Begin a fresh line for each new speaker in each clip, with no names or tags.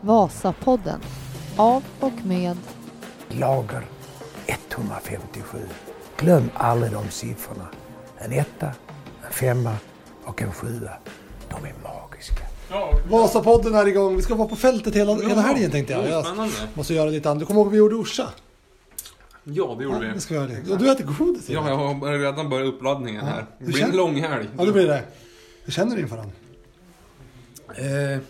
Vasapodden. Av och med
Lager 157. Glöm aldrig de siffrorna. En etta, en femma och en sjua. De är magiska.
Vasapodden är igång. Vi ska vara på fältet hela, hela helgen tänkte jag.
Ja,
jag
spännande.
måste göra lite annat. Du kommer ihåg vad vi gjorde i Orsa?
Ja, det gjorde vi.
Nu ska vi göra det. Och du äter godis
Ja, jag har redan börjat uppladdningen här. Det blir
känner-
en lång helg.
ja, det blir det. Hur känner du inför den?
Eh, det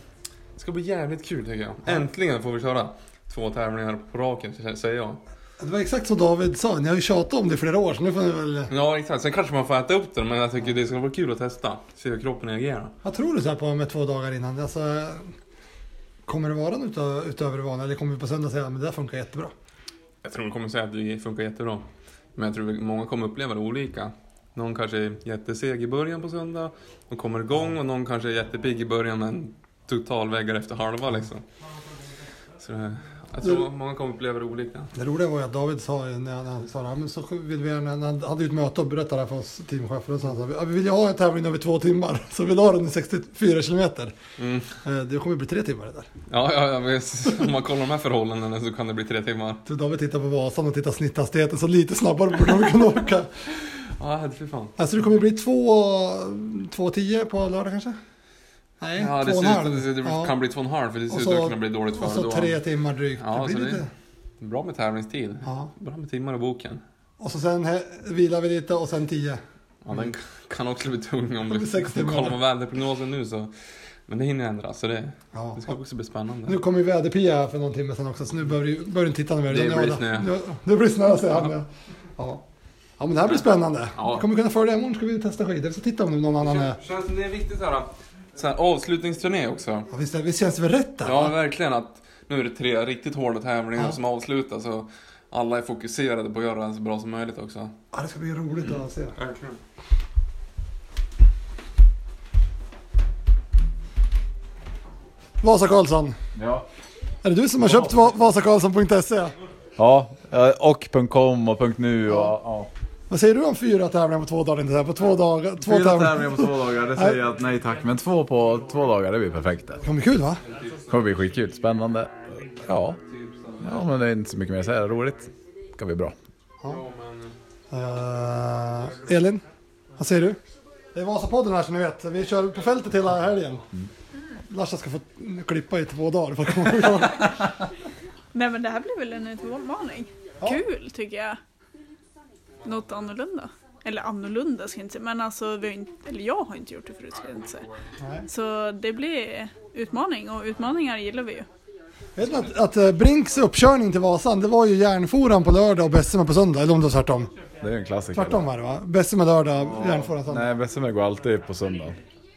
ska bli jävligt kul tycker jag. Äntligen får vi köra två tävlingar på raken, så säger jag.
Det var exakt så David sa. Ni har ju tjatat om det i flera år, så nu får ni väl...
Ja, exakt. Sen kanske man får äta upp den, men jag tycker det ska vara kul att testa. Se hur kroppen reagerar.
Vad tror du så här på med två dagar innan? Alltså, kommer det vara något utö- utöver det vanliga? Eller kommer vi på söndag säga att det där funkar jättebra?
Jag tror de kommer säga att det funkar jättebra. Men jag tror att många kommer uppleva det olika. Någon kanske är jätteseg i början på söndag och kommer igång och någon kanske är jättepigg i början men totalväggar efter halva liksom. Så det- jag tror många kommer uppleva det olika.
Det roliga var ju att David sa ju när han, när han sa det här, men så vill vi gärna, när han hade ju ett möte och berättade det här för oss teamchefer och så han sa, "Ja, vi vill ju ha en tävling över två timmar, så vi la den i 64 kilometer.
Mm.
Eh, Det kommer bli tre timmar det där.
Ja, ja, ja visst. om man kollar de här förhållandena så kan det bli tre timmar.
Så David tittar på Vasan och tittar snitthastigheten, så lite snabbare borde de kunna åka.
Ja, fy fan.
Alltså det kommer bli två, två tio på lördag kanske? Nej,
Ja, det,
två och
ser
en halv.
ut, det, det
Ja.
kan bli två och en halv för det ser
Och
ut
så-
att kunna bli dåligt
Och
för
så
då.
tre timmar drygt.
Ja,
det blir
så det-
lite...
Bra med tävlingstid.
Ja.
Bra med timmar i boken.
Och så sen he- vilar vi lite och sen tio.
Ja, den kan också bli tung om
blir Mm. sex
du
timmar.
kollar på väderprognosen nu så. Men det hinner ändras så det,
Ja.
det ska också bli spännande.
Nu kom ju väderpia här för någon timme sedan också, så nu börjar du- börjar du titta när vi
Det
redan
blir
är
snö.
Nu, nu blir det snö, säger han. Ja. Ja. ja, men det här blir spännande.
Ja.
Vi kommer kunna följa det. Imorgon ska vi testa skidor. Vi ska titta om någon annan är...
Kän, känns det är viktigt så här, så här avslutningsturné också.
Ja, visst, är- visst känns det väl rätt där?
Ja,
va?
verkligen att nu är det tre riktigt hårda tävlingar
Ja.
som avslutas och alla är fokuserade på att göra det så bra som möjligt också.
ja, det ska bli roligt att se.
Verkligen.
Vasa Karlsson.
Ja.
Är det du som har köpt Va- vasakarlsson.se?
Ja, Eh, och .com och .nu och... Ja.
Vad säger du om fyra tävlingar på två dagar? Inte så här, på två dagar? Två
Fyra
tävlingar.
tävlingar på två dagar, det säger jag att nej tack. Men två på två dagar, det blir perfekt. Det
Det kommer bli kul va?
kommer bli skitkul, spännande. Ja. ja, men det är inte så mycket mer att säga. Roligt. Det kan bli bra.
Eh, Elin, vad säger du? Det är Vasapodden här som ni vet. Vi kör på fältet hela helgen. Larsa ska få klippa i två dagar för att komma igång.
Nej men det här blir väl en utmaning. Kul tycker jag. Något annorlunda. Eller annorlunda ska jag inte säga, men alltså vi har inte, eller jag har inte gjort det förut ska jag inte säga.
Nej.
Så det blir utmaning och utmaningar gillar vi ju.
Vet ni att, att eh, Brinks uppkörning till Vasan, det var ju järnforan på lördag och Bessema på söndag. Eller om det var tvärtom.
Det är ju en klassiker.
Tvärtom var det va? Bessema lördag, järnforan söndag.
Nej, Bessemer går alltid på söndag.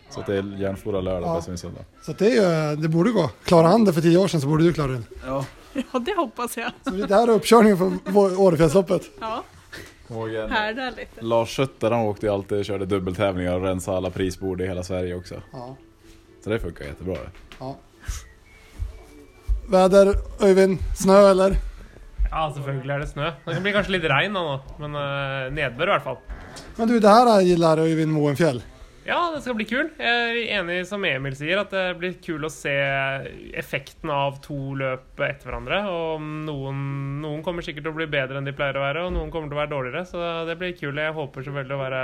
Så att det är järnfora lördag,
Ja.
Bessemer söndag.
Så att det, är, ju- eh, det borde gå. Klarar han det för tio år sedan så borde du klara det.
Ja det hoppas jag.
Så det här är uppkörningen för vår- Årefjällsloppet.
Ja, härda lite.
Lars Schötter han åkte ju alltid och körde dubbeltävlingar och rensade alla prisbord i hela Sverige också.
Ja.
Så det funkar jättebra det.
Väder, Öyvind, snö eller?
Ja, selvfølgelig er det snø. Det blir kanskje litt regn nå, men eh, nedbør i hvert fall.
Men du, det här gillar Öyvind Moenfjäll.
Ja, det skal bli kul. Jeg er enig som Emil sier, at det blir kul å se effekten av to løp etter hverandre. Og noen, noen kommer sikkert til å bli bedre enn de pleier å være, og noen kommer til å være dårligere. Så det blir kul. Jeg håper selvfølgelig å være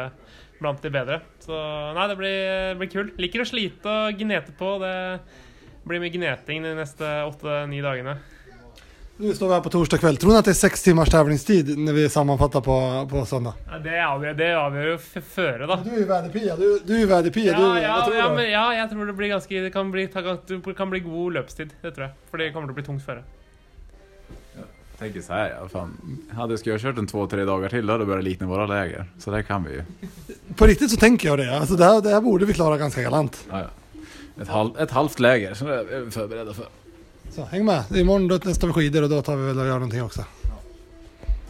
blant de bedre. Så nei, det blir, det blir kul. Liker å slite og gnete på. Det blir mye gneting de neste åtte-ni dagene.
Nu står vi här på torsdag kväll. Tror ni att det är sex timmars tävlingstid när vi sammanfattar på, på söndag?
Ja, Det avgjør det avgjør jo f- føre, da.
Du är ju väderpia, du, du är ju väderpia.
Ja,
du,
ja,
vad tror
ja,
du?
men, ja, jeg tror det blir ganske Det kan bli, det kan bli god løpstid, det tror jeg. For det kommer til å bli tungt føre.
Tänker så här, ja, fan. Hade skulle jag kört en två, tre dagar till då hade det börjat likna våra läger. Så det kan vi ju.
På riktigt så tänker jag det. Alltså det, här, det här borde vi klara ganska galant.
Ja, ja. Ett, halv, ett halvt läger, så det är vi förberedda för.
Så häng med. Imorgon då testar vi skidor och då tar vi väl och gör någonting också.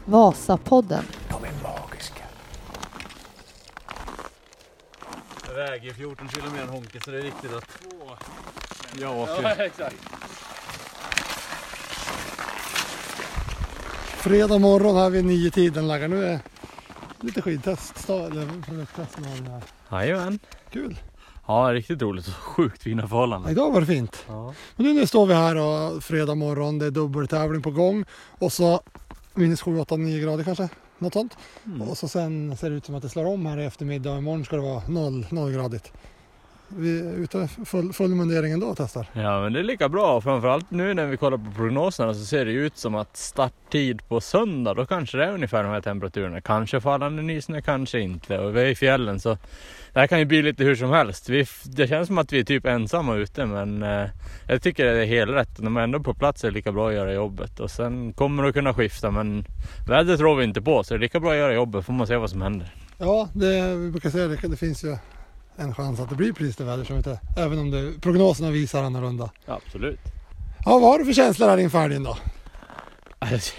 Vasapodden.
De är magiska.
Jag väger 14 kilo mer än Honke så det är viktigt att...
Jag åker.
Fredag morgon här vid nio tiden laggar. Nu är lite skidtest. sta- Eller produkttest. med den här.
Jajamän.
Kul.
Ja, riktigt roligt och sjukt fina förhållanden.
Idag var det fint.
Ja.
Men nu, nu står vi här och fredag morgon, det är dubbeltävling på gång och så minus 7, 8, 9 grader kanske. Något sånt. Och så sen ser det ut som att det slår om här i eftermiddag och imorgon ska det vara noll, nollgradigt. Vi är ute full, full mundering ändå och testar.
ja, men det är lika bra. Framförallt nu när vi kollar på prognoserna så ser det ju ut som att starttid på söndag, då kanske det är ungefär de här temperaturerna. Kanske fallande nysnö, kanske inte. Och vi är i fjällen så det här kan ju bli lite hur som helst. Vi, det känns som att vi är typ ensamma ute men eh, jag tycker det är helt rätt. När man ändå är på plats är det lika bra att göra jobbet. Och sen kommer det att kunna skifta men vädret rår vi inte på så det är lika bra att göra jobbet får man se vad som händer.
Ja, det, vi brukar säga det, det finns ju en chans att det blir precis det väder som inte, även om det, prognoserna visar annorlunda.
Absolut.
Ja, vad har du för känslor här inför helgen då?
Alltså,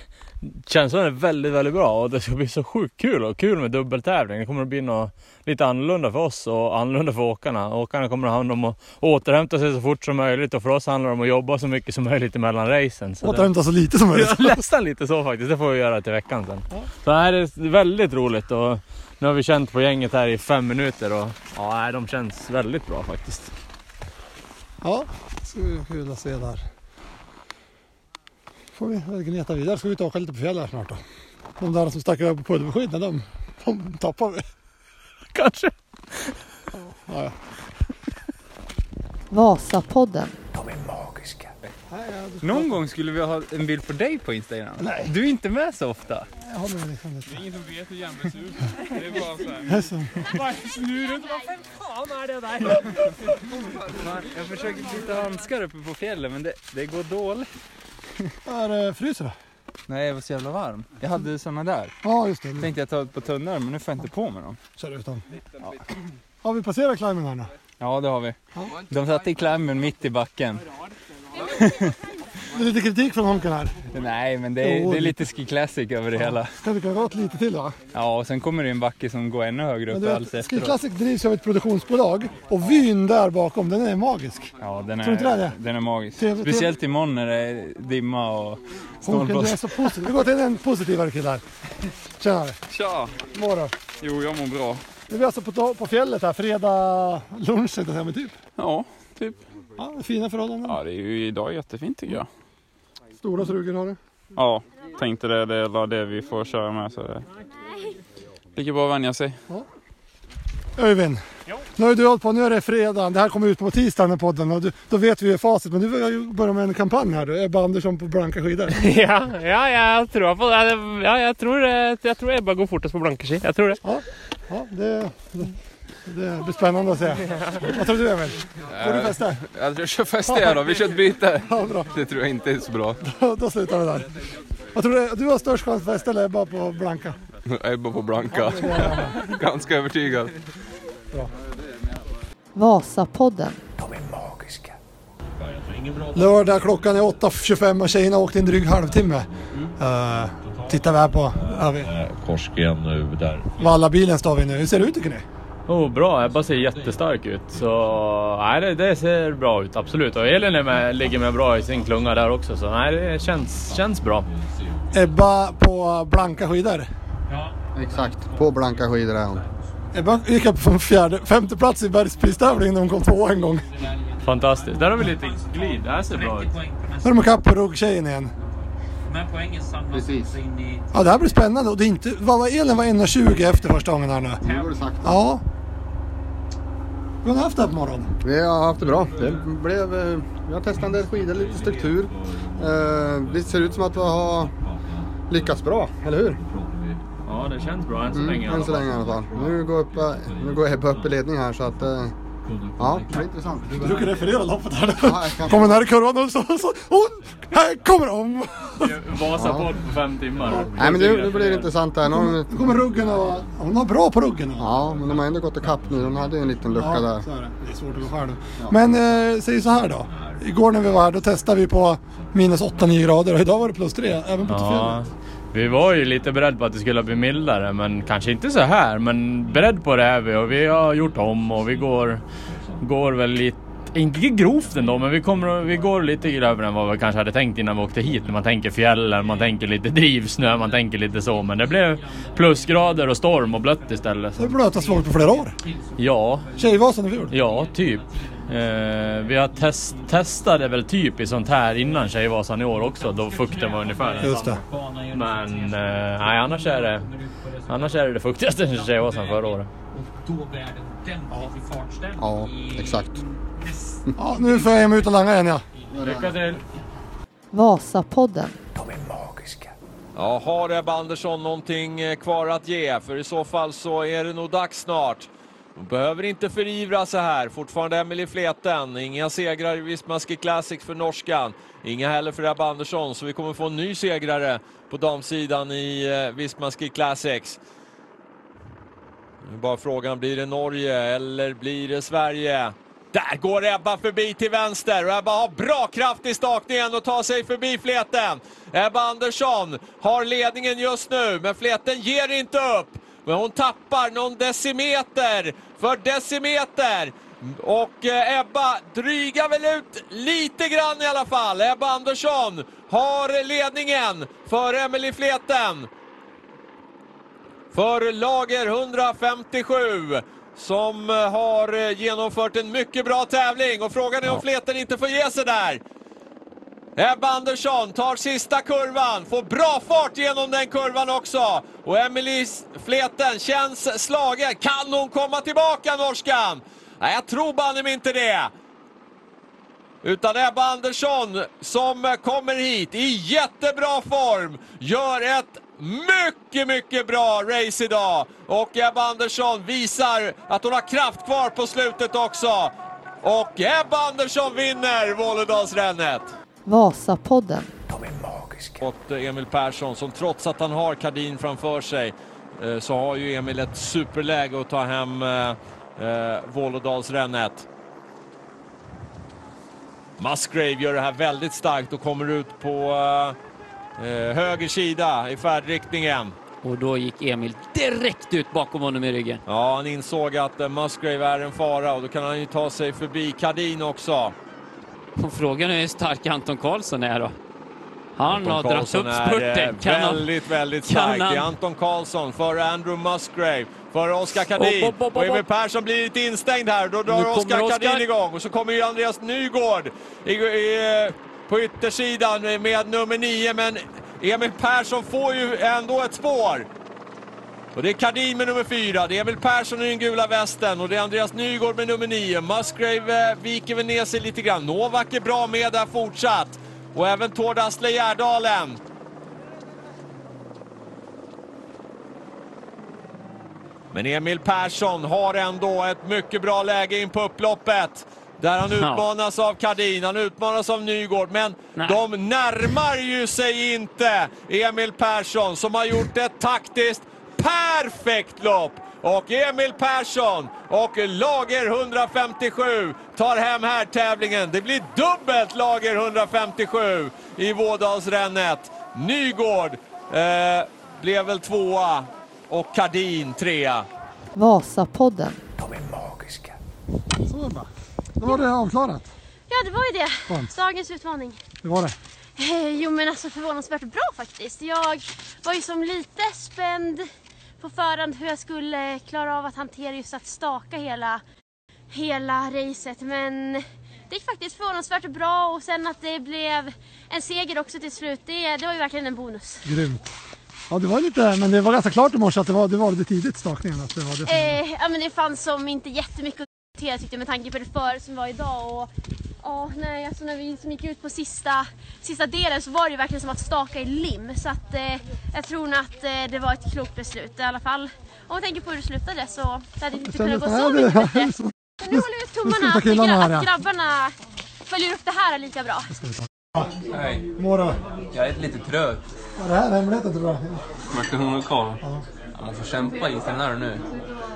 Känslan är väldigt, väldigt bra och det ska bli så sjukt kul och kul med dubbeltävling. Det kommer att bli något lite annorlunda för oss och annorlunda för åkarna. Åkarna kommer att ha hand om att återhämta sig så fort som möjligt och för oss handlar det om att jobba så mycket som möjligt mellan racen. Så det,
Återhämta så lite som möjligt.
Ja, nästan lite så faktiskt, det får vi göra till veckan sen. Så här är det väldigt roligt och nu har vi känt på gänget här i fem minuter och ja, nej, de känns väldigt bra faktiskt.
Ja, det ska bli kul att se där. Får vi gneta vidare. Ska vi ut och åka lite på fjäll här snart då. De där som stack iväg på pulverskidorna, de, de tappar vi.
Kanske.
Ja, ja.
Vasapodden.
De är magiska.
Nej, jag,
Någon gång skulle vi ha en bild på dig på Instagram.
Nej.
Du är inte med så ofta.
jag håller mig liksom lite.
Ingen som vet hur järnväg ser ut. Det är bara såhär.
Jag är så-
Bara snur runt. Vad fan fan är det där?
Fan, Jag försöker knyta handskar uppe på fjällen men det, det går dåligt.
Här eh, fryser det.
Nej, jag var så jävla varm. Jag hade såna där.
Ja, just det.
Tänkte jag ta ett par tunnor men nu får jag inte på mig dem.
Kör utan. Har vi passerat climbing här nu?
Ja, det har vi. De satte i klämmen mitt i backen.
Det är lite kritik från Honken här.
Nej, men det är,
Jo.
det är lite ski classic över det hela.
Kan det kunna gå åt lite till va?
Ja, och sen kommer det en backe som går ännu högre
Men
upp
du
alls
vet, Ski
efteråt.
Classic drivs av ett produktionsbolag och vyn där bakom den är magisk.
Ja, den
Tror du inte det är
är,
det?
den är magisk.
Trevligt,
Speciellt imorgon när det är dimma och
Honken, du är
snålblåst.
så positiv. Vi går till en positivare kille här. Tjenare.
Tja!
Morgon.
Jo, jag mår bra.
Nu är vi alltså på, på fjället här, fredag lunch tänkte jag säga, men typ.
Ja, typ.
Ja, fina förhållanden.
Ja, det är ju idag är jättefint tycker jag.
Stora suger har du.
Mm. Ja, tänkte det. Det är det vi får köra med. Så det... Lika bra att vänja sig.
Öyvind, nu har ju du hållit på, nu är det fredag. Det här kommer ut på tisdagen den podden och du, då vet vi ju facit. Men du har ju börjat med en kampanj här du, Ebba Andersson på blanka skidor.
Ja, ja, jag tror på det. Ja, jag tror, det- jag tror Ebba går fortast på blankerski. Jag tror det.
Ja, det, det, det blir spännande att se. Vad tror du Emil? Går
Eh.
du bästa?
Jag kör fäste jag då, vi kör ett byte.
Ja, bra.
Det tror jag inte är så bra.
Då, då slutar vi där. Vad tror du, du har störst chans att ställa Ebba på blanka?
Ebba på Blanka. Ganska övertygad.
Vasapodden.
De är magiska.
Lördag klockan är 8.25 och tjejerna åkte en dryg halvtimme. Eh, tittar vi här på Arvid.
Korsgren nu där.
Vallabilen står vi nu. Hur ser det ut tycker ni?
Oh, bra, Ebba ser jättestark ut. Så nej, det, det ser bra ut, absolut. Och Elin är med, ligger med bra i sin klunga där också. Så nej, det känns, känns bra.
Ebba på blanka skidor.
Exakt, på blanka skidor är hon.
Ebba gick upp från fjärde, femte plats i bergspristävlingen när hon kom tvåa en gång.
Fantastiskt. Där har vi lite glid. Det här ser bra ut.
Nu är de ikapp på ruggtjejen igen.
Precis.
Ja, det här blir spännande. Och det är inte, vad var Elin var 1.20 efter första gången här nu.
Nu går det sakta.
Ja. Hur har ni haft det här på morgonen?
Vi har haft det bra. Det blev, eh, vi har testat en del skidor, lite struktur. Eh, Det ser ut som att vi har lyckats bra, eller hur?
Ja, det känns bra än så länge. i
Mm,
alla
än så
fall.
länge i alla fall. Nu går, upp, eh, nu går Ebba upp i ledning här så att... eh, Ja, det blir intressant.
Du brukar referera loppet här.
Ja, jag kan-
Kommer den här i kurvan och så, så och här kommer de.
Vasapodd på fem timmar.
Nej men nu, nu blir det intressant där. Nu har de-
Nu kommer ruggen och hon var bra på ruggen. nu.
Ja, men de har ändå gått ikapp nu. De hade ju en liten lucka
Ja,
där.
så är det. Det är svårt att gå själv. Men eh, säg så här då. Igår när vi var här då testade vi på minus 8-9 grader och idag var det plus 3 även på
Ja,
fjället.
vi var ju lite beredda på att det skulle bli mildare, men kanske inte så här. Men beredd på det är vi och vi har gjort om och vi går, går väl lite
inte grovt ändå, men vi, kommer, att- vi går lite grövre än vad vi kanske hade tänkt innan vi åkte hit. När man tänker fjällen, man tänker lite drivsnö, man tänker lite så. Men det blev plusgrader och storm och blött istället.
Det är blötaste vi har varit på flera år.
Ja.
Tjejvasan i fjol?
Ja, typ. Eh, vi har test, testade väl typ i sånt här innan Tjejvasan i år också, då fukten var ungefär densamma.
Just det.
Men eh, nej, annars är det, annars är det det fuktigaste Tjejvasan förra året.
Ja, exakt.
Ja, nu får jag ge mig ut och langa igen ja.
Lycka till!
Vasapodden.
Ja, har Ebba Andersson någonting eh, kvar att ge? För i så fall så är det nog dags snart. Hon behöver inte förivra sig här. Fortfarande Emily Fleten. Inga segrar i Vismaski Classic för norskan. Inga heller för Ebba Andersson, så vi kommer få en ny segrare på damsidan i eh, Vismaski Classics. Nu är bara frågan, blir det Norge eller blir det Sverige? Där går Ebba förbi till vänster och Ebba har bra kraft i stakningen och tar sig förbi Fleten. Ebba Andersson har ledningen just nu, men Fleten ger inte upp. Men hon tappar någon decimeter för decimeter. Och eh, Ebba drygar väl ut lite grann i alla fall. Ebba Andersson har ledningen för Emily Fleten för Lager 157 som eh, har eh, genomfört en mycket bra tävling och frågan är om Fleten inte får ge sig där. Ebba Andersson tar sista kurvan, får bra fart genom den kurvan också. Och Emily Fleten känns slagen. Kan hon komma tillbaka, norskan? Nej, jag tror banne mig inte det. Utan Ebba Andersson som kommer hit i jättebra form, gör ett mycket, mycket bra race idag. Och Ebba Andersson visar att hon har kraft kvar på slutet också. Och Ebba Andersson vinner Vålådalsrännet.
Vasapodden.
Mot eh, Emil Persson som trots att han har Kardin framför sig eh, så har ju Emil ett superläge att ta hem eh, eh, Vålådalsrännet. Musgrave gör det här väldigt starkt och kommer ut på eh, eh, höger sida i färdriktningen.
Och då gick Emil direkt ut bakom honom i ryggen.
Ja, han insåg att eh, Musgrave är en fara och då kan han ju ta sig förbi Kardin också.
Och frågan är hur stark Anton Karlsson är då. Han har
Anton
dragit
Karlsson
upp
är
spurten.
eh,
Kan han-
väldigt, väldigt
kan
stark. Det är
han-
Anton Karlsson före Andrew Musgrave, före Oskar Kardin.
Upp, upp, upp, upp,
och Emil
upp.
Persson blir lite instängd här. Då
Nu
drar
kommer
Oskar
Oskar.
Kardin igång och så kommer ju Andreas Nygård i, i, eh, på yttersidan med nummer nio. Men Emil Persson får ju ändå ett spår. Och det är Kardin med nummer fyra, det är Emil Persson i den gula västen och det är Andreas Nygård med nummer nio. Musgrave eh, viker väl ner sig lite grann. Novak är bra med där fortsatt. Och även Tord Asle Gärdalen. Men Emil Persson har ändå ett mycket bra läge in på upploppet. Där han
Ja.
utmanas av Kardin, han utmanas av Nygård, men de närmar ju sig inte Emil Persson som har gjort ett taktiskt perfekt lopp. Och Emil Persson och Lager 157 tar hem här tävlingen. Det blir dubbelt Lager 157 i Vådalsrännet. Nygård eh, blev väl tvåa och Kardin trea.
Vasapodden.
Så Ebba. Då var det avklarat.
Ja, det var ju det.
Skönt.
Dagens utmaning.
Hur var det?
Eh, Jo, men alltså förvånansvärt bra faktiskt. Jag var ju som lite spänd på förhand hur jag skulle klara av att hantera just att staka hela, hela racet. Men det gick faktiskt förvånansvärt bra och sen att det blev en seger också till slut, det, det var ju verkligen en bonus.
Grymt. Ja det var lite, men det var ganska klart i morse att det var det, var det tidigt stakningen. Att det var det.
Eh, ja, men det fanns som inte jättemycket att diskutera tyckte jag, med tanke på det för som var idag. Och, ja, nej, alltså, när vi som gick ut på sista, sista delen så var det ju verkligen som att staka i lim. Så att, eh, jag tror nog att eh, det var ett klokt beslut. I alla fall om man tänker på hur det slutade så det hade det inte kunnat gå så mycket bättre. Så nu håller vi ut
Nu
tummarna
slutar
att, gra-
killarna här, ja.
att grabbarna följer upp det här lika bra.
Hej. Mår du?
Jag är lite trött.
Var det här hemligheten tror jag?
Smärtan hon kvar. Ja, man får kämpa i sig den här nu.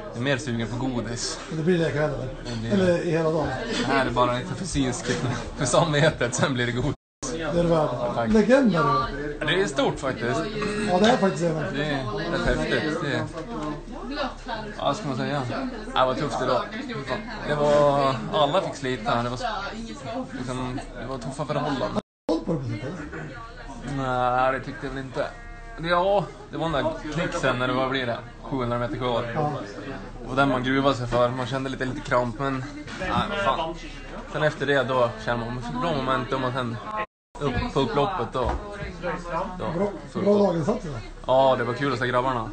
Jag är mer sugen på godis.
Det blir det ikväll eller?
blir Mm. det.
Eller i hela dagen?
Det här är bara lite för synskigt för samvetet, sen blir det godis.
Det är det värd. Legend är du.
Ja, Det är stort faktiskt.
Ja, det är faktiskt det. verkligen.
Det är rätt häftigt. Det är... Ja, vad ska man säga? Ja, det var tufft idag. Det var... Alla fick slita. Det var, liksom, det var tuffa förhållanden. Nej, det tyckte jag väl inte. Ja, det var den där klicksen när det var, blir det? 700 meter kvar. Och den man gruvade sig för. Man kände lite, lite kramp, men... Nej, vad fan. Sen efter det då känner man, bra momentum och sen upp på upploppet då. då fullt
Bra
upp.
daginsats. eller?
Ja, det var kul att se grabbarna.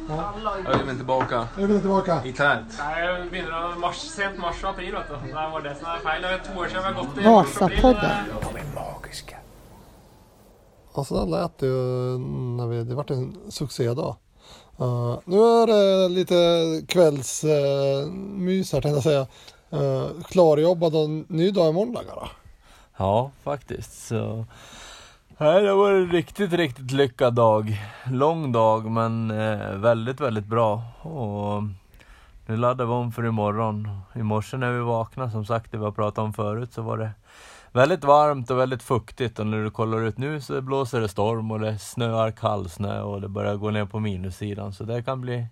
Jag vill tillbaka.
Jag vill tillbaka.
I tält.
Nei, jeg begynner å mars, sent mars og april, vet du. Det var det som er feil. Det er to år siden vi har gått i mars og april.
Vasapodden.
Alltså det lät det ju när vi, det vart en succédag. Eh, nu är det lite kvällsmys här tänkte jag säga. Uh, klarjobbad och en ny dag i måndag då.
Ja, faktiskt. Så... Nej, det var en riktigt, riktigt lyckad dag. Lång dag, men eh, väldigt, väldigt bra. Och nu laddar vi om för imorgon. I morse när vi vaknade, som sagt, det vi har pratat om förut, så var det väldigt varmt och väldigt fuktigt. Och när du kollar ut nu så blåser det storm och det snöar kallsnö och det börjar gå ner på minussidan. Så det kan bli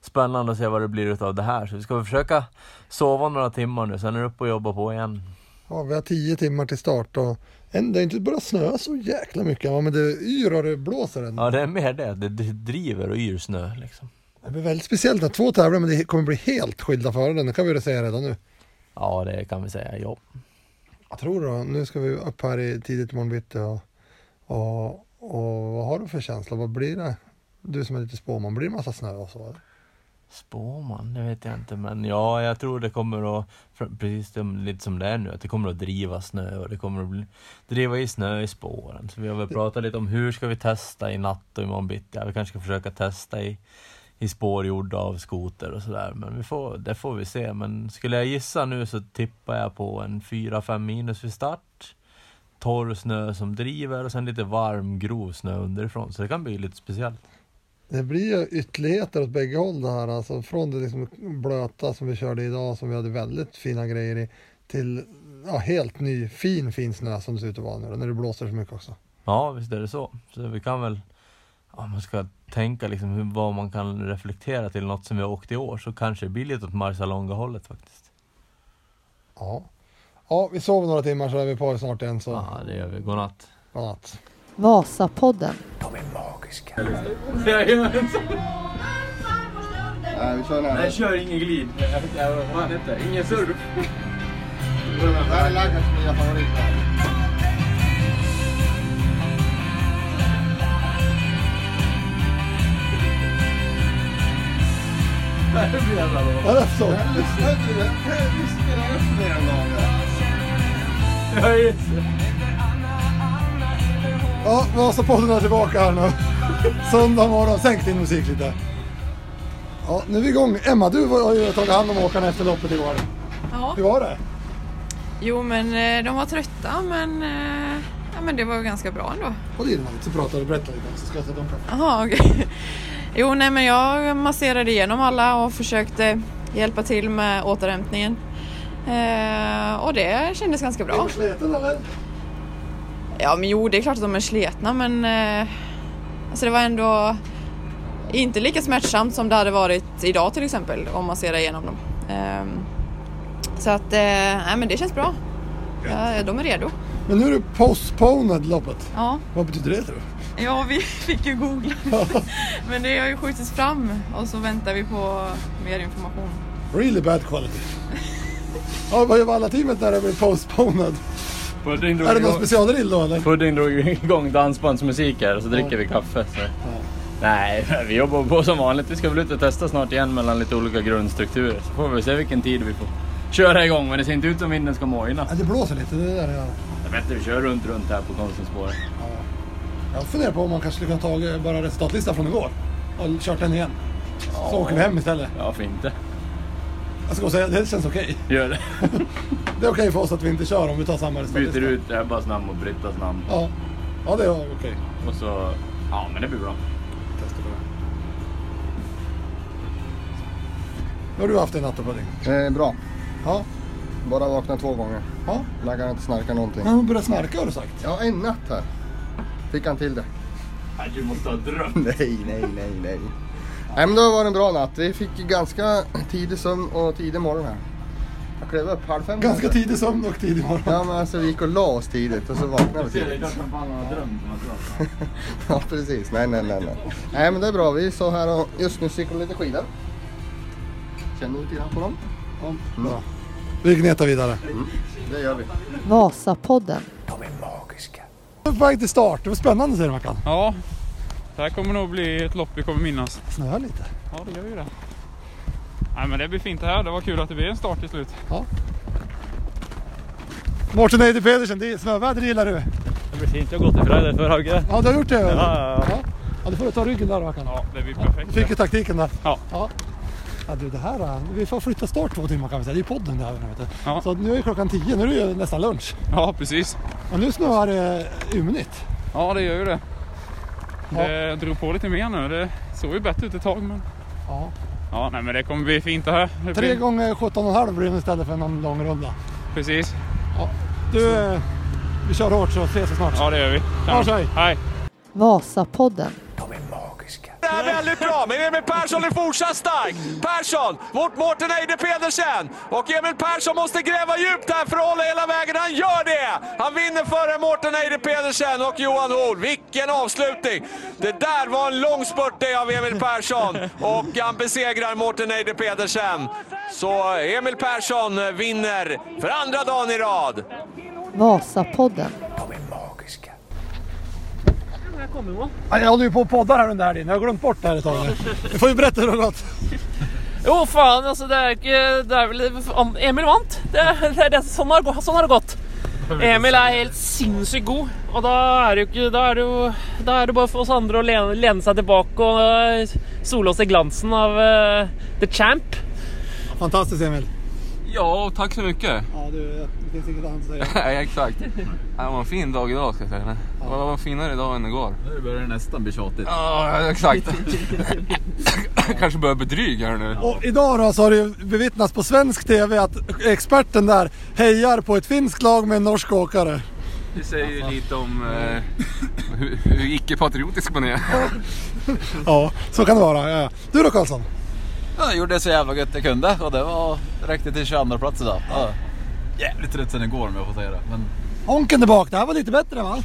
spännande att se vad det blir utav det här. Så vi ska försöka sova några timmar nu, sen är det upp och jobba på igen.
Ja, vi har tio timmar till start och än, det har inte börjat snöa så jäkla mycket. Ja, men det yr och det blåser än.
Ja, det är mer det. Det det driver och yr snö liksom.
Det blir väldigt speciellt när två tävlar men det kommer bli helt skilda förare. Det kan vi väl säga redan nu.
Ja, det kan vi säga. Ja.
Jag tror då, nu ska vi upp här i tidigt imorgon bitti och, och, och vad har du för känsla? Vad blir det? Du som är lite spåman, blir det massa snö och så?
Spåman, det vet jag inte. Men ja, jag tror det kommer att, fr- precis som- lite som det är nu, att det kommer att driva snö och det kommer att bli, driva i snö i spåren. Så vi har väl pratat lite om hur ska vi testa i natt och imorgon bitti. Ja, vi kanske ska försöka testa i, i spår gjorda av skoter och sådär. Men vi får, det får vi se. Men skulle jag gissa nu så tippar jag på en 4-5 minus vid start. Torr snö som driver och sen lite varm grov snö underifrån. Så det kan bli lite speciellt.
Det blir ju ytterligheter åt bägge håll det här. Alltså från det liksom blöta som vi körde idag som vi hade väldigt fina grejer i till ja, helt ny fin fin snö som det ser ut att vara nu då, när det blåser så mycket också.
Ja, visst är det så. Så vi kan väl, om man ska tänka liksom hur, vad man kan reflektera till något som vi har åkt i år så kanske det blir lite åt Marcialonga-hållet faktiskt.
Ja. ja, vi sover några timmar så är vi på snart igen. Så.
Ja, det gör vi. Godnatt.
Godnatt.
Vasapodden.
Nej, vi kör den här.
Nej, kör ingen glid. Vad heter det? Ingen surf.
Det här är Laggars nya favorit.
Är det så?
Ja, just det.
Ja, Vasapodden är tillbaka här nu. Söndag morgon, sänk din musik lite. Ja, nu är vi igång. Emma, du var- har ju tagit hand om åkarna efter loppet igår.
Ja.
Hur var det?
Jo, men eh, de var trötta, men, eh, ja, men det var ju ganska bra ändå.
Håll i den här lite så pratar du, berätta lite. Så ska jag sätta dem på.
Jaha, okej. Jo, nej, men jag masserade igenom alla och försökte hjälpa till med återhämtningen. Eh, och det kändes ganska bra.
Är du sliten eller?
Ja, men jo, det är klart att de är sletna, men eh, alltså det var ändå inte lika smärtsamt som det hade varit idag till exempel om man ser igenom dem. Ehm, så att, eh, nej, men det känns bra. Ja, de är redo.
Men nu är du postponed loppet.
Ja.
Vad betyder det tror du?
ja, vi fick ju googla. men det har ju skjutits fram och så väntar vi på mer information.
Really bad quality. ja, vad gör alla teamet när det blir postponed?
Pudding drog
Är det någon
igång-
specialrill då eller?
Pudding drog igång dansbandsmusik här och så dricker vi kaffe. Så. Nej, vi jobbar på som vanligt. Vi ska väl ut och testa snart igen mellan lite olika grundstrukturer. Så får vi se vilken tid vi får köra igång. Men det ser inte ut som vinden ska mojna.
Ja, det blåser lite, det är det jag...
Jag vet inte, vi kör runt, runt här på Konsumspåret.
Jag funderar på om man kanske skulle kunna ta eh, bara resultatlistan från igår och kört den igen. Så
Ja.
åker vi hem istället.
Varför inte?
Jag ska säga, det känns okej.
Gör det.
Det är okej för oss att vi inte kör om vi tar samma resultat.
Byter ut Ebbas namn mot Brittas namn.
Ja. ja, det är okej.
Och så... Ja, men det blir bra.
Hur har du haft det i natt då, Pudding?
Eh, bra.
Ja.
Bara vaknat två gånger. Ja. Laggar inte snarka någonting.
Han började snarka har du sagt.
Ja, en natt här. Fick han till det.
Du måste ha drömt.
Nej, nej, nej, nej. Nej men det har varit en bra natt. Vi fick ju ganska tidig sömn och tidig morgon här. Jag klev upp halv fem.
Ganska
kanske.
tidig sömn och tidig morgon.
Ja men alltså vi gick och la oss tidigt och så vaknade vi tidigt. Ja precis, nej nej nej. Nej, nej men det är bra. Vi så här och just nu cyklar lite skidor. Känner du lite grann på dem? Mm.
Vi gnetar vidare.
Det gör vi.
Vasapodden.
Väg till start. Det var spännande säger Mackan.
Ja, det här kommer nog bli ett lopp vi kommer minnas.
Snöar lite.
Ja, det gör ju det. Nej, men det blir fint det här. Det var kul att det blev en start till slut.
Ja. Mårten Eide Pedersen, det är snöväder det gillar du.
Det blir fint. Jag har gått i Frölunda förra veckan.
Ja, du har gjort det?
Ja, ja, ja.
Ja, du får ta ryggen där Mackan. Ja,
det blir perfekt.
Du fick ju taktiken där.
Ja.
ja. Ja, du, det här, eh, vi får flytta start två timmar kan vi säga. Det är ju podden det här. Vet du. Så nu är det klockan tio, nu är det ju nästan lunch.
Ja, precis.
Och nu snöar eh, det ymnigt.
Ja, det gör ju det. Det drog på lite mer nu. Det såg ju bättre ut ett tag, men...
Ja.
Ja, nej, men det kommer bli fint det här. Det
Tre
blir-
gånger 17,5 blir det istället för någon lång runda.
Precis.
Du, eh, vi kör hårt så ses vi snart.
Ja, det gör vi.
Hörs, hej.
Hej.
Vasapodden.
Det här är väldigt bra, men Emil Persson är fortsatt stark. Persson mot Mårten Eide Pedersen. Och Emil Persson måste gräva djupt här för att hålla hela vägen. Han gör det! Han vinner före Mårten Eide Pedersen och Johan Hoel. Vilken avslutning! Det där var en lång spurt det av Emil Persson. Och han besegrar Mårten Eide Pedersen. Så Emil Persson vinner för andra dagen i rad.
Vasapodden.
Här kommer man.
Ja, Jag håller ju på och poddar här under helgen. Jag har glömt bort det här ett tag. nu. Du får ju berätta hur det har gått.
Jo, faen, altså, det er ikke Det er vel om Emil vant. Det, er- det er det, sånn, har, det gå- sånn har det gått. Emil er helt sinnssykt god, og da er det jo ikke Da er det jo da er det bare for oss andre å lene, lene seg tilbake og eh, sole oss i glansen av eh, the champ.
Fantastiskt Emil.
Ja, tack så mycket.
Ja, du, det finns inget annat att säga.
Nej, exakt. Det var en fin dag idag ska jag säga. Det var en finare idag än igår.
Nu börjar det nästan bli tjatigt.
Ja, exakt. Jag kanske börjar bli dryg här nu.
Och idag då så har det ju bevittnats på svensk TV att experten där hejar på ett finskt lag med en norsk åkare.
Det säger ju lite om
Mm.
eh, hur, hur icke-patriotisk man är.
Ja, så kan det vara. Ja. ja. Du då Karlsson?
Ja, Jag gjorde så jävla gött jag kunde och det var, räckte till 22 plats idag. Ja. Jävligt trött sen igår om jag får säga det. Men
Honken där bak, det här var lite bättre va?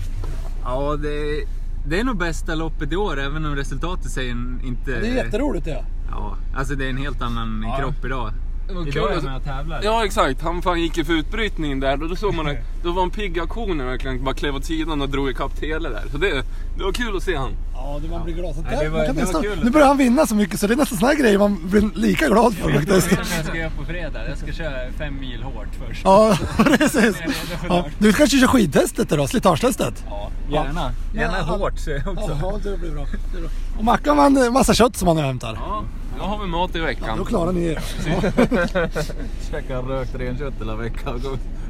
Ja, det, det är nog bästa loppet i år, även om resultatet säger en- inte...
Det är jätteroligt det.
Ja, alltså det är en helt annan
Ja.
kropp idag.
Vad
Idag
kul
är
att-
man och tävlar.
Ja exakt, han fan gick ju för utbrytningen där och då såg
Mm.
man att då var en pigg i aktionen verkligen. Bara klev åt sidan och drog ikapp Tele där. Så det, det var kul att se han.
Ja, det man blir glad.
Ja, det var-
Man Alltså, kan
det var
nästan-
kul.
Nu börjar han vinna så mycket så det är nästan såna här grejer man blir lika glad för
Jag vet
faktiskt.
inte vad jag ska göra på fredag. Jag ska köra fem mil hårt först.
Ja, precis.
Jag är redo för
Ja,
lördag.
du kanske kör skidtestet idag, slitagetestet?
Ja, gärna. Gärna hårt så jag också.
Ja, det blir bra. Och Mackan vann eh, massa kött som han nu hämtar.
Ja, då har vi mat i veckan.
då klarar ni er.
käkade rökt renkött hela veckan.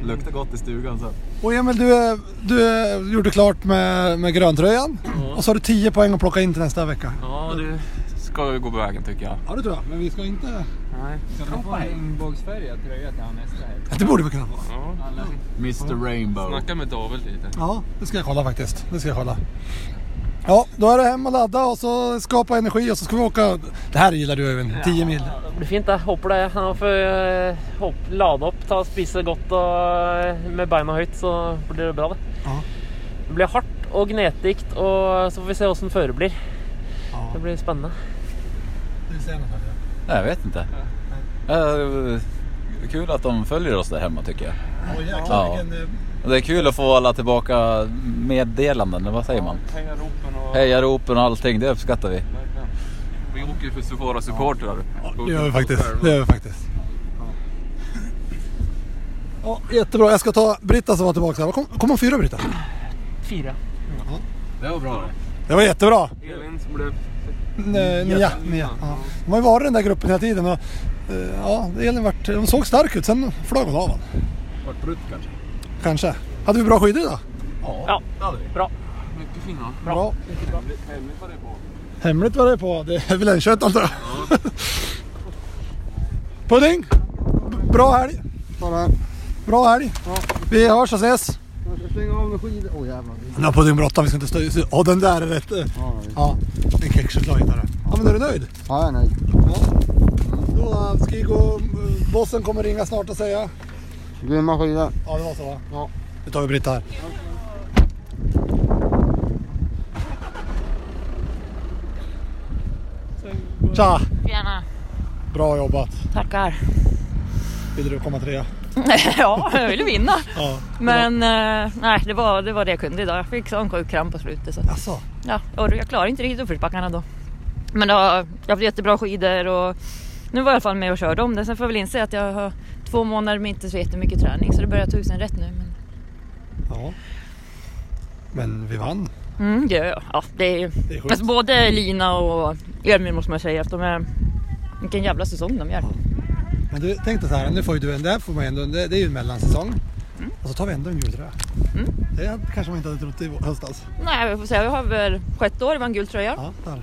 Luktar gott i stugan sen.
Och Emil, du, eh, du eh, gjorde klart med, med gröntröjan. Och så har du 10 poäng att plocka in till nästa vecka.
Ja, det ska ju gå på vägen tycker jag.
Ja, det tror jag. Men vi ska inte...
Nej. Kan man få en regnbågsfärgad tröja till han nästa helg?
Det borde vi kunna få.
Ja.
Mr Rainbow.
Snacka med David lite.
Ja, det ska jag kolla faktiskt. Det ska jag kolla. Ja, då är det hem och ladda och så skapa energi och så ska vi åka. Det här gillar du Evin, 10 mil.
Det blir fint, det. Håper det. Han får eh, hopp, lade opp, ta, spise godt og eh, med beina høyt, så blir det bra, det. Det blir hardt og gnetikt, og så får vi se åssen føret blir. Det blir spennende.
Nej, jag vet inte. Eh, Kul att de följer oss där hemma tycker jag. Ja. Och Det är kul att få alla tillbaka meddelanden, eller vad säger man?
Hejaropen och...
Hejaropen och allting, det uppskattar vi.
Vi åker ju för Sufara-supportrar.
Det gör vi faktiskt. Det gör vi faktiskt. Ja, jättebra. Jag ska ta Britta som var tillbaka. här. Kom, kom om fyra Britta.
Fire.
Det var bra
Det var jättebra.
Elin som blev...
N-
Mm.
Nia. nia. Ja. De har ju varit i den där gruppen hela tiden. Och, eh, ja, Elin vart, de såg stark ut, sen flög hon av.
Vart brutt kanske?
Kanske. Hade vi bra skidor idag?
Ja, bra.
Mycket fina.
Bra.
Mycket bra. Hemligt var det på.
Hemligt var det på. Det är väl en kött antar jag. Pudding! B- Bra helg!
Bara
Bra helg! Vi hörs och ses!
Jag ska slänga av med skidor. Åh jävlar.
Nu på din brottan, vi ska inte stå... Ja, den där är rätt... eh, Ja, en kexchoklad hittade du. Ja, men är du nöjd?
Ja, jag är nöjd.
Då eh, ska vi gå... Bossen kommer ringa snart och säga.
Grymma skidor.
Ja, det var så va? Ja. Nu tar vi Britta här. Tja!
Gärna.
Bra jobbat!
Tackar.
Ville du komma trea?
ja, jag ville vinna.
Ja.
Men eh, nej, det var, det var det jag kunde idag. Jag fick sån sjuk kramp på slutet. Så.
Alltså.
Ja, och jag klarade inte riktigt uppförsbackarna då. Men då, jag hade jättebra skidor och nu var jag i alla fall med och körde om det. Sen får jag väl inse att jag har två månader med inte så jättemycket träning så det börjar tusen rätt nu. Men,
Ja. Men vi vann.
mm, ja, ja, ja, det är,
är sjukt.
alltså, både Lina och Emil måste man säga att de är... Vilken jävla säsong de gör.
Men du, tänk dig så här, nu får ju du en, det här får man ju ändå, det, det är ju en mellansäsong.
Mm.
Och så tar vi ändå en gultröja. Det hade- kanske man inte hade trott i höstas.
Nej, vi får säga, jag har väl sjätte år i en gul tröja.
Ja, där.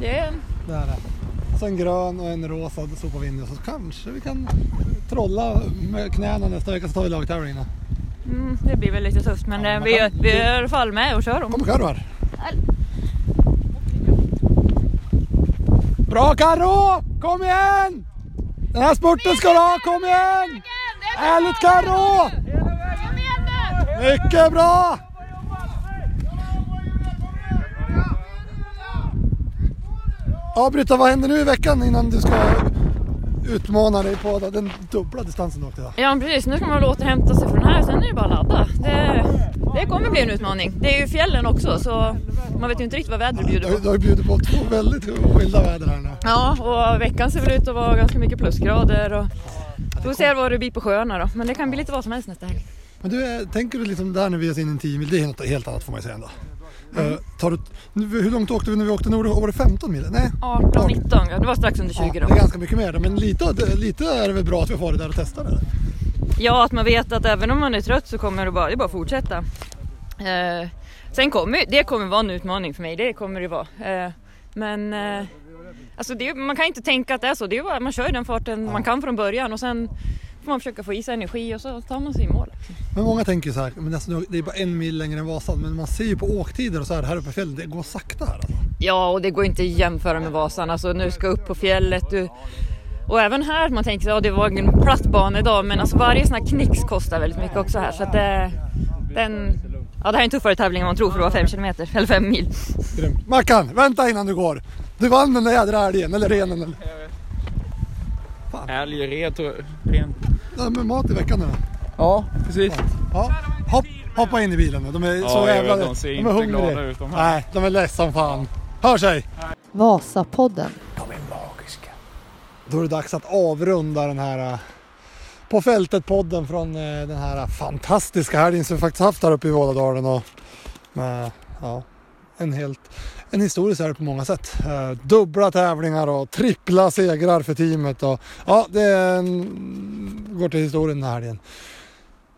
Det är
Där är det. Så en grön och en rosa, då sopar vi in det. Så kanske vi kan trolla med knäna nästa vecka så tar vi lagtävlingarna.
Mm, det blir väl lite tufft men eh,
man
vi,
kan-
vi är i alla fall med och kör om.
Kom och kör då här. Bra Karo! Kom igen! Den här spurten ska du ha, kom igen! Härligt Karo! Mycket bra! Ja Britta, vad händer nu i veckan innan du ska utmana dig på den dubbla distansen du åkte idag?
Ja men precis, nu ska man väl återhämta sig från den här sen är det bara att ladda. Det, det kommer bli en utmaning. Det är ju fjällen också så man vet ju inte riktigt vad vädret bjuder
Du har ju
på.
bjudit på två väldigt skilda väder här nu.
Ja och veckan ser väl ut att vara ganska mycket plusgrader och får se vad det blir på sjöarna då. Men det kan bli lite vad som helst nästa helg.
Men du, eh, tänker du liksom där när vi är inne i en 10 mil, det är något helt annat får man ju säga ändå. Eh, tar du, nu, hur långt åkte vi när vi åkte norrut? Var det 15 mil? Nej?
18, 19, ja, det var strax under 20
Ja,
då.
det är ganska mycket mer då, men lite, lite är det väl bra att vi har varit där och testat det.
Ja, att man vet att även om man är trött så kommer det bara, det är bara att fortsätta. Eh, sen kommer det kommer vara en utmaning för mig, det kommer det vara. Eh, men eh, alltså det, är- man kan inte tänka att det är så, det är bara, man kör den farten man kan från början och sen får man försöka få i sig energi och så tar man sig i mål.
Men många tänker ju så här, men alltså, nu- det är bara en mil längre än Vasan, men man ser ju på åktider och så här, här uppe i fjällen, det går sakta här. Alltså.
Ja, och det går inte att jämföra med Vasan. Alltså, nu ska jag upp på fjället. Du... Och även här, man tänker att det var en platt bana idag, men alltså, varje sån här knix kostar väldigt mycket också här. Så att det, den... ja, det här är en tuffare tävling än man tror för det var 5 kilometer, eller 5 mil.
Grymt. Mackan, vänta innan du går! Du vann den där jädra älgen, eller renen. Eller.
Älg, red och ren.
Nej, men mat i veckan nu då.
Ja, precis.
Ja. Hopp, hoppa in i bilen nu, de är
Ja,
så
jag
jävla...
vet, de ser inte glada ut, de här.
Nej, de är ledsna som fan. Hör sig!
Vasapodden.
Då är det dags att avrunda den här eh, På fältet-podden från eh, den här fantastiska helgen som vi faktiskt haft här uppe i Vålådalen. Och med, ja, en, helt, en historisk helg på många sätt. Eh, Dubbla tävlingar och trippla segrar för teamet. Och, ja, det är en, går till historien den här helgen.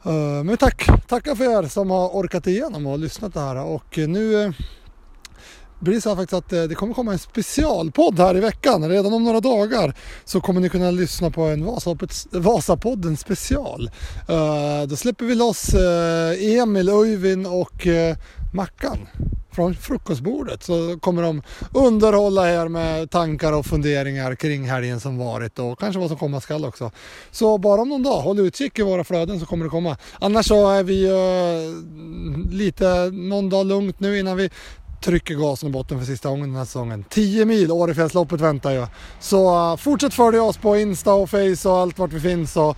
Eh, Men tack, tackar för er som har orkat igenom och lyssnat det här. Och eh, nu eh, blir det så här faktiskt att eh, det kommer komma en specialpodd här i veckan. Redan om några dagar så kommer ni kunna lyssna på en Vasapodd- Vasapodden special. Eh, Då släpper vi loss eh, Emil, Öyvind och eh, Mackan från frukostbordet så kommer de underhålla er med tankar och funderingar kring helgen som varit och kanske vad som komma skall också. Så bara om någon dag, håll utkik i våra flöden så kommer det komma. Annars så är vi eh, lite någon dag lugnt nu innan vi trycker gasen i botten för sista gången den här säsongen. 10 mil Årefjällsloppet väntar ju. Så eh, fortsätt följa oss på Insta och Face och allt vart vi finns. Och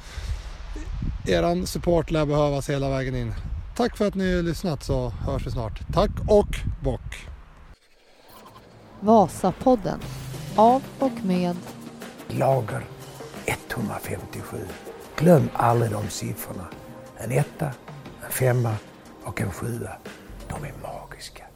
eran support lär behövas hela vägen in. Tack för att ni har lyssnat så hörs vi snart. Tack och bock!
Vasapodden. Av och med
Lager 157. Glöm aldrig de siffrorna. En etta, en femma och en sjua. De är magiska.